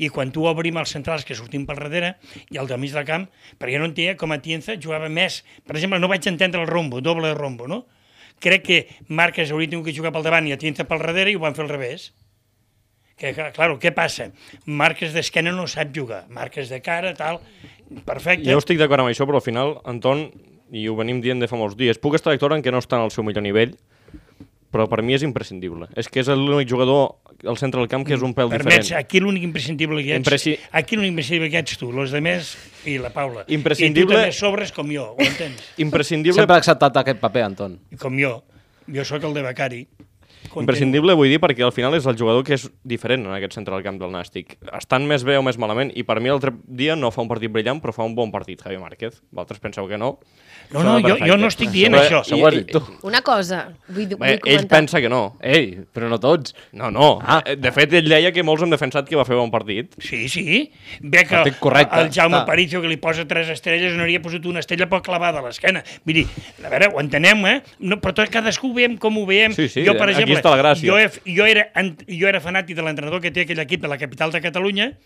[SPEAKER 5] I quan tu obrim els centrals que sortim pel darrere i el del mig del camp, perquè no entendia com a Tienza jugava més. Per exemple, no vaig entendre el rombo, doble de rombo, no? Crec que Marques hauria tingut que jugar pel davant i a Tienza pel darrere i ho van fer al revés. Que, que, claro, què passa? Marques d'esquena no sap jugar, marques de cara, tal... Perfecte.
[SPEAKER 1] Jo estic d'acord amb això, però al final, Anton, i ho venim dient de fa molts dies, puc estar d'acord en que no està en el seu millor nivell, però per mi és imprescindible. És que és l'únic jugador al centre del camp que és un pèl
[SPEAKER 5] Permets,
[SPEAKER 1] diferent.
[SPEAKER 5] Mm, aquí l'únic imprescindible que ets,
[SPEAKER 1] Impresci-
[SPEAKER 5] aquí l'únic imprescindible que ets tu, los demés i la Paula.
[SPEAKER 1] Imprescindible-
[SPEAKER 5] I tu també sobres com jo, ho entens?
[SPEAKER 1] Imprescindible,
[SPEAKER 4] Sempre ha acceptat aquest paper, Anton.
[SPEAKER 5] Com jo. Jo sóc el de becari. Content.
[SPEAKER 1] Imprescindible, vull dir, perquè al final és el jugador que és diferent en aquest centre del camp del Nàstic. Estan més bé o més malament, i per mi l'altre dia no fa un partit brillant, però fa un bon partit, Javi Márquez. Vosaltres penseu que no?
[SPEAKER 5] No, no, jo, jo no estic dient
[SPEAKER 1] Però-
[SPEAKER 5] això.
[SPEAKER 1] i-
[SPEAKER 4] Això ho has dit tu.
[SPEAKER 3] Una cosa, vull,
[SPEAKER 1] Bé,
[SPEAKER 3] vull comentar.
[SPEAKER 1] Eh, ell pensa que no.
[SPEAKER 4] Ei, però no tots.
[SPEAKER 1] No, no.
[SPEAKER 4] Ah.
[SPEAKER 1] Ah. De fet, ell deia que molts han defensat que va fer bon partit.
[SPEAKER 5] Sí, sí. Bé que
[SPEAKER 4] Estic correcte,
[SPEAKER 5] el Jaume
[SPEAKER 4] està.
[SPEAKER 5] Aparicio, que li posa tres estrelles, no hauria posat una estrella per clavada a l'esquena. Vull dir, a veure, ho entenem, eh? No, però tot cadascú ho veiem com ho veiem.
[SPEAKER 1] Sí, sí,
[SPEAKER 5] jo, per
[SPEAKER 1] aquí
[SPEAKER 5] exemple,
[SPEAKER 1] està la gràcia.
[SPEAKER 5] Jo, he, jo, era, ant- jo era fanàtic de l'entrenador que té aquell equip de la capital de Catalunya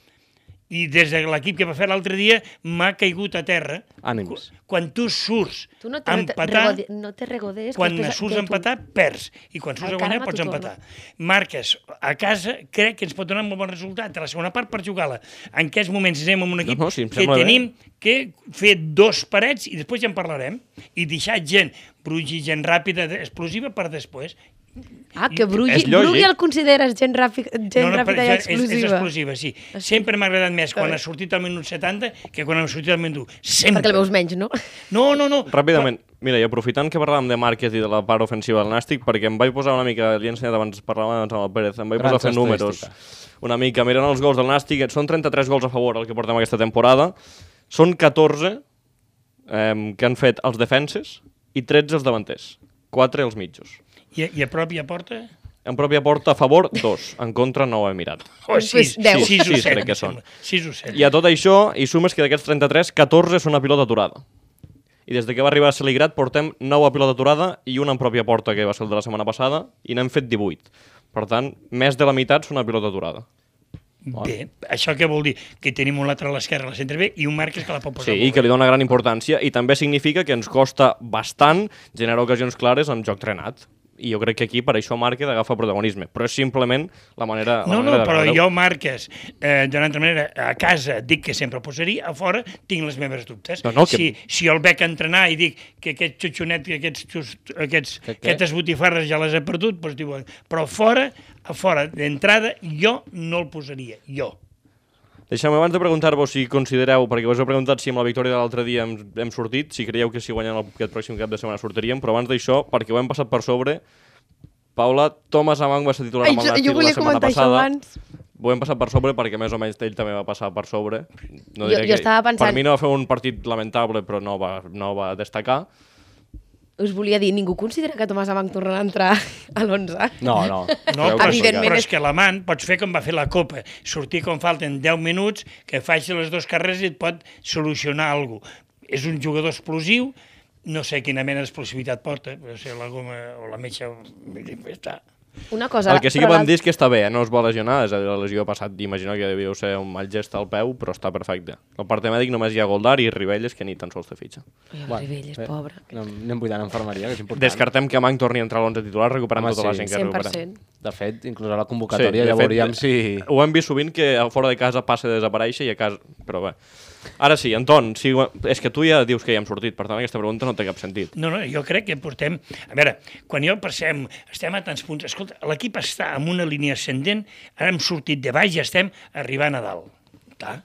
[SPEAKER 5] i des de l'equip que va fer l'altre dia m'ha caigut a terra.
[SPEAKER 4] Ànims.
[SPEAKER 5] Qu- Quan tu surts
[SPEAKER 3] Tu no te,
[SPEAKER 5] empatar
[SPEAKER 3] regode, no te regodes.
[SPEAKER 5] quan
[SPEAKER 3] després
[SPEAKER 5] surts a
[SPEAKER 3] té tu.
[SPEAKER 5] empatar, perds. I quan surts
[SPEAKER 3] El
[SPEAKER 5] a guanyar,
[SPEAKER 3] karma eh?
[SPEAKER 5] pots
[SPEAKER 3] t'ho
[SPEAKER 5] empatar.
[SPEAKER 3] torna.
[SPEAKER 5] Marques a casa, crec que ens pot donar un molt bon resultat. A la segona part, per jugar-la. En aquests moments anem amb un equip
[SPEAKER 1] no, sí, em
[SPEAKER 5] que
[SPEAKER 1] sembla bé.
[SPEAKER 5] tenim que fer dos parets i després ja en parlarem. I deixar gent, brugi, gent ràpida, de- explosiva per després.
[SPEAKER 3] Ah, que Brugui,
[SPEAKER 1] És lògic.
[SPEAKER 3] Brugui el consideres gent, ràpic, gent ràpida i
[SPEAKER 5] això
[SPEAKER 3] exclusiva.
[SPEAKER 5] És, és explosiva, sí. Sempre m'ha agradat més quan
[SPEAKER 3] bé.
[SPEAKER 5] ha sortit al minut 70 que quan ha sortit al minut 1. Sempre.
[SPEAKER 3] Perquè el veus menys, no?
[SPEAKER 5] No, no, no.
[SPEAKER 1] Ràpidament.
[SPEAKER 5] Però,
[SPEAKER 1] Mira, i aprofitant que parlàvem de Márquez i de la part ofensiva del Nàstic, perquè em vaig posar una mica, li he ensenyat abans, parlàvem abans amb el Pérez, em vaig
[SPEAKER 4] Grans
[SPEAKER 1] posar a fer números. Una mica, mirant els gols del Nàstic, són 33 gols a favor el que portem aquesta temporada, són 14 eh, que han fet els defenses i 13 els davanters, 4 els mitjos.
[SPEAKER 5] I, I a prop i a porta?
[SPEAKER 1] En pròpia porta a favor, 2. En contra, no ho he mirat.
[SPEAKER 5] O
[SPEAKER 3] Doncs
[SPEAKER 5] sis,
[SPEAKER 3] deu.
[SPEAKER 5] sis,
[SPEAKER 1] Sis,
[SPEAKER 5] o set,
[SPEAKER 1] crec que
[SPEAKER 5] em
[SPEAKER 1] són.
[SPEAKER 5] sembla. Sis o set.
[SPEAKER 1] I a tot això, hi sumes que d'aquests 33, 14 són a pilota aturada. I des de que va arribar a Celigrat portem 9 a pilota aturada i una en pròpia porta, que va ser el de la setmana passada, i n'hem fet 18. Per tant, més de la meitat són a pilota aturada.
[SPEAKER 5] Bé, això què vol dir? Que tenim un lateral a l'esquerra, a la centre B, i un Márquez que la pot posar
[SPEAKER 1] Sí, i
[SPEAKER 5] molt
[SPEAKER 1] que
[SPEAKER 5] bé.
[SPEAKER 1] li dona gran importància. I també significa que ens costa bastant generar ocasions clares amb joc trenat. I jo crec que aquí per això Márquez agafa protagonisme. Però és simplement la manera... la
[SPEAKER 5] No, no,
[SPEAKER 1] manera de
[SPEAKER 5] però
[SPEAKER 1] veure-ho.
[SPEAKER 5] jo Márquez, eh, d'una altra manera, a casa dic que sempre el posaria, a fora tinc les meves dubtes.
[SPEAKER 1] No, no, que-
[SPEAKER 5] si, si el veig entrenar i dic que aquest xutxonet, que aquests, xus- aquests,
[SPEAKER 4] Que què?
[SPEAKER 5] aquestes botifarres ja les he perdut, doncs diuen, però fora, a fora, d'entrada, jo no el posaria, jo.
[SPEAKER 1] Deixeu-me abans de preguntar-vos si considereu, perquè us he preguntat si amb la victòria de l'altre dia hem, hem sortit, si creieu que si guanyen el, aquest pròxim cap de setmana sortiríem, però abans d'això, perquè ho hem passat per sobre, Paula, Thomas Amang va ser titular
[SPEAKER 3] Ai,
[SPEAKER 1] amb el
[SPEAKER 3] jo,
[SPEAKER 1] Nàstic
[SPEAKER 3] jo
[SPEAKER 1] la
[SPEAKER 3] volia
[SPEAKER 1] setmana
[SPEAKER 3] comentar això
[SPEAKER 1] passada.
[SPEAKER 3] abans.
[SPEAKER 1] Ho hem passat per sobre perquè més o menys ell també va passar per sobre. No
[SPEAKER 3] Jo-
[SPEAKER 1] diré
[SPEAKER 3] jo
[SPEAKER 1] que-
[SPEAKER 3] estava
[SPEAKER 1] Per
[SPEAKER 3] pensant-
[SPEAKER 1] mi no va fer un partit lamentable, però no va, no va destacar.
[SPEAKER 3] Us volia dir, ningú considera que Tomàs Amanc tornarà a entrar a l'11?
[SPEAKER 4] No, no.
[SPEAKER 5] No,
[SPEAKER 1] Creu
[SPEAKER 5] però,
[SPEAKER 1] que
[SPEAKER 3] Evidentment.
[SPEAKER 5] però és que l'amant pots fer com va fer la Copa, sortir com falten 10 minuts, que faci les dues carreres i et pot solucionar alguna cosa. És un jugador explosiu, no sé quina mena d'explosivitat porta, no sé, la goma o la metxa... vull dir, Està.
[SPEAKER 3] Una cosa...
[SPEAKER 1] El que sí que
[SPEAKER 3] però
[SPEAKER 1] vam
[SPEAKER 3] l'alt-
[SPEAKER 1] dir és que està bé, eh? no es va lesionar, és a dir, la lesió ha passat, imagino que devíeu ser un mal gest al peu, però està perfecte. Al part mèdic només hi ha Goldar i Ribelles, que ni tan sols té fitxa.
[SPEAKER 3] Ai, el
[SPEAKER 4] Bueno,
[SPEAKER 3] Ribell és
[SPEAKER 1] eh,
[SPEAKER 4] bé.
[SPEAKER 3] pobre.
[SPEAKER 4] Anem, anem buidant enfermeria, que és important.
[SPEAKER 1] Descartem que Manc torni a entrar a l'11 titular recuperant
[SPEAKER 4] Home,
[SPEAKER 1] tota la
[SPEAKER 4] sí.
[SPEAKER 1] gent que
[SPEAKER 3] 100%.
[SPEAKER 4] De fet, inclús a la convocatòria
[SPEAKER 1] de fet,
[SPEAKER 4] ja
[SPEAKER 1] eh.
[SPEAKER 4] veuríem si...
[SPEAKER 1] Ho hem vist sovint que a fora de casa passa a desaparèixer i a casa... Però bé. Ara sí, Anton, si... ho- és que tu ja dius que ja hem sortit, per tant aquesta pregunta no té cap sentit.
[SPEAKER 5] No, no, jo crec que portem... A veure, quan jo passem, estem a tants punts... Escolta, l'equip està en una línia ascendent, ara hem sortit de baix i estem arribant a dalt. Clar,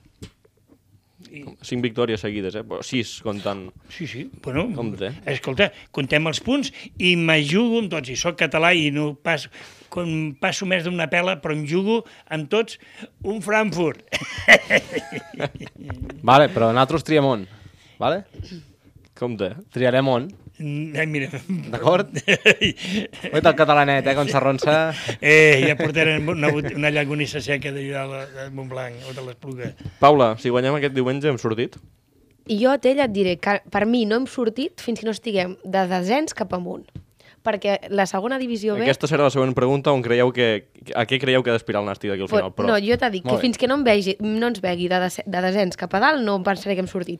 [SPEAKER 1] Cinc victòries seguides, eh? Però sis, comptant...
[SPEAKER 5] Sí, sí, bueno,
[SPEAKER 1] Compte.
[SPEAKER 5] escolta, contem els punts i me jugo amb tots, i sóc català i no passo, com passo més d'una pela, però em jugo amb tots un Frankfurt.
[SPEAKER 4] Vale, però nosaltres triem on, vale?
[SPEAKER 1] Compte.
[SPEAKER 4] Triarem on,
[SPEAKER 5] Ai, mira,
[SPEAKER 4] d'acord? Oita el catalanet, eh, com s'arronsa...
[SPEAKER 5] eh, ja portarem una, bot- una llagonissa seca d'allà de, de Montblanc o de l'Espluga.
[SPEAKER 1] Paula, si guanyem aquest diumenge hem sortit?
[SPEAKER 3] I jo a Tella et diré que per mi no hem sortit fins que no estiguem de desens cap amunt. Perquè la segona divisió B...
[SPEAKER 1] Aquesta serà la següent pregunta on creieu que... A què creieu que ha d'aspirar el Nàstic d'aquí al final,
[SPEAKER 3] Pot-
[SPEAKER 1] però...
[SPEAKER 3] No, jo t'he dit
[SPEAKER 4] Molt
[SPEAKER 3] que
[SPEAKER 4] bé.
[SPEAKER 3] fins que no, em vegi, no ens vegui de, des, de desens cap a dalt no em pensaré que hem sortit,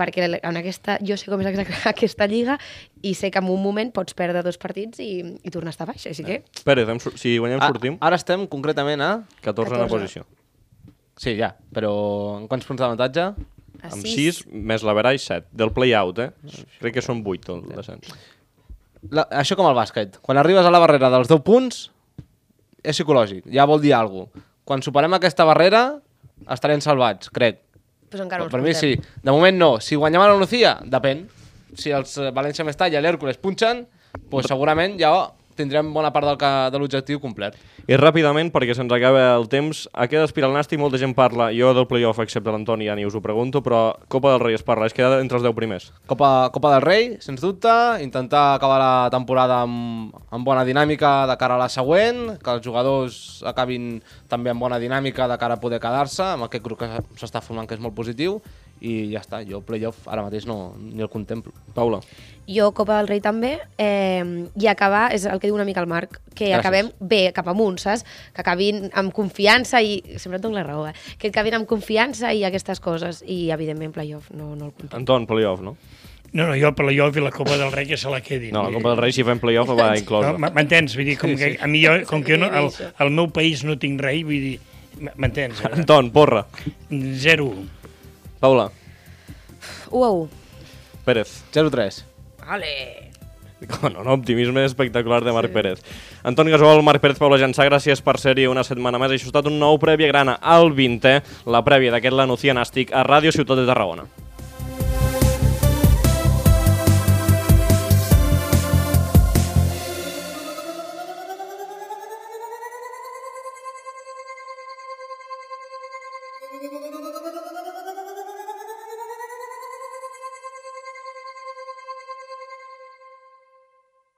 [SPEAKER 3] perquè en aquesta, jo sé com és exacta- aquesta lliga i sé que en un moment pots perdre dos partits i, i tornar a estar baix, així que...
[SPEAKER 1] Pérez, hem, sur- si guanyem
[SPEAKER 4] Ah,
[SPEAKER 1] sortim,
[SPEAKER 4] Ara estem concretament a...
[SPEAKER 1] 14 en
[SPEAKER 3] 14.
[SPEAKER 1] posició.
[SPEAKER 4] Sí, ja, però en quants punts d'avantatge?
[SPEAKER 3] A
[SPEAKER 1] Amb 6,
[SPEAKER 3] sis.
[SPEAKER 1] més la Verai, 7. Del play-out, eh? Crec que són 8, el descens.
[SPEAKER 4] La, això com el bàsquet. Quan arribes a la barrera dels 10 punts, és psicològic, ja vol dir alguna cosa. Quan superem aquesta barrera, estarem salvats, crec.
[SPEAKER 3] Pues encara no
[SPEAKER 4] per
[SPEAKER 3] els
[SPEAKER 4] mi sí.
[SPEAKER 3] portem.
[SPEAKER 4] De moment no. Si guanyem a la Nucía, depèn. Si els eh, València Mestalla i l'Hércules punxen, doncs segurament ja tindrem bona part del que, de l'objectiu complet.
[SPEAKER 1] I ràpidament, perquè se'ns acaba el temps, a què d'espiral Nasti molta gent parla, jo del playoff, excepte l'Antoni, ja ni us ho pregunto, però Copa del Rei es parla, és quedar entre els 10 primers.
[SPEAKER 4] Copa, Copa del Rei, sens dubte, intentar acabar la temporada amb, amb bona dinàmica de cara a la següent, que els jugadors acabin també amb bona dinàmica de cara a poder quedar-se, amb aquest grup que s- s'està formant que és molt positiu, i ja està, jo playoff ara mateix no, ni el contemplo.
[SPEAKER 1] Paula,
[SPEAKER 3] Jo, Copa del Rei també, eh, i acabar, és el que diu una mica el Marc, que
[SPEAKER 4] Gràcies.
[SPEAKER 3] acabem bé, cap amunt, saps? Que acabin amb confiança i... Sempre et dono la raó, eh? Que acabin amb confiança i aquestes coses. I, evidentment, playoff no, no el comptem.
[SPEAKER 1] Anton, playoff, no?
[SPEAKER 5] No, no, jo per la Llov i la Copa del Rei que se la quedin.
[SPEAKER 1] No, la
[SPEAKER 5] Vull
[SPEAKER 1] Copa del Rei, si fem playoff, va inclosa.
[SPEAKER 5] No, m- M'entens? Vull dir, com que a mi jo, com que jo no, al, al meu país no tinc rei, vull dir, m- m'entens?
[SPEAKER 1] Anton, porra.
[SPEAKER 5] 0-1.
[SPEAKER 1] Paula,
[SPEAKER 3] 1 a 1.
[SPEAKER 1] Pérez.
[SPEAKER 4] 0-3.
[SPEAKER 3] Vale!
[SPEAKER 1] No, no, optimisme espectacular de Marc sí. Pérez. Anton Gasol, Marc Pérez, Paula Jansà, gràcies per ser-hi una setmana més. Això ha estat un nou prèvia grana al 20è, la prèvia d'aquest Lanucia Nàstic a Ràdio Ciutat de Tarragona.
[SPEAKER 6] Thank you.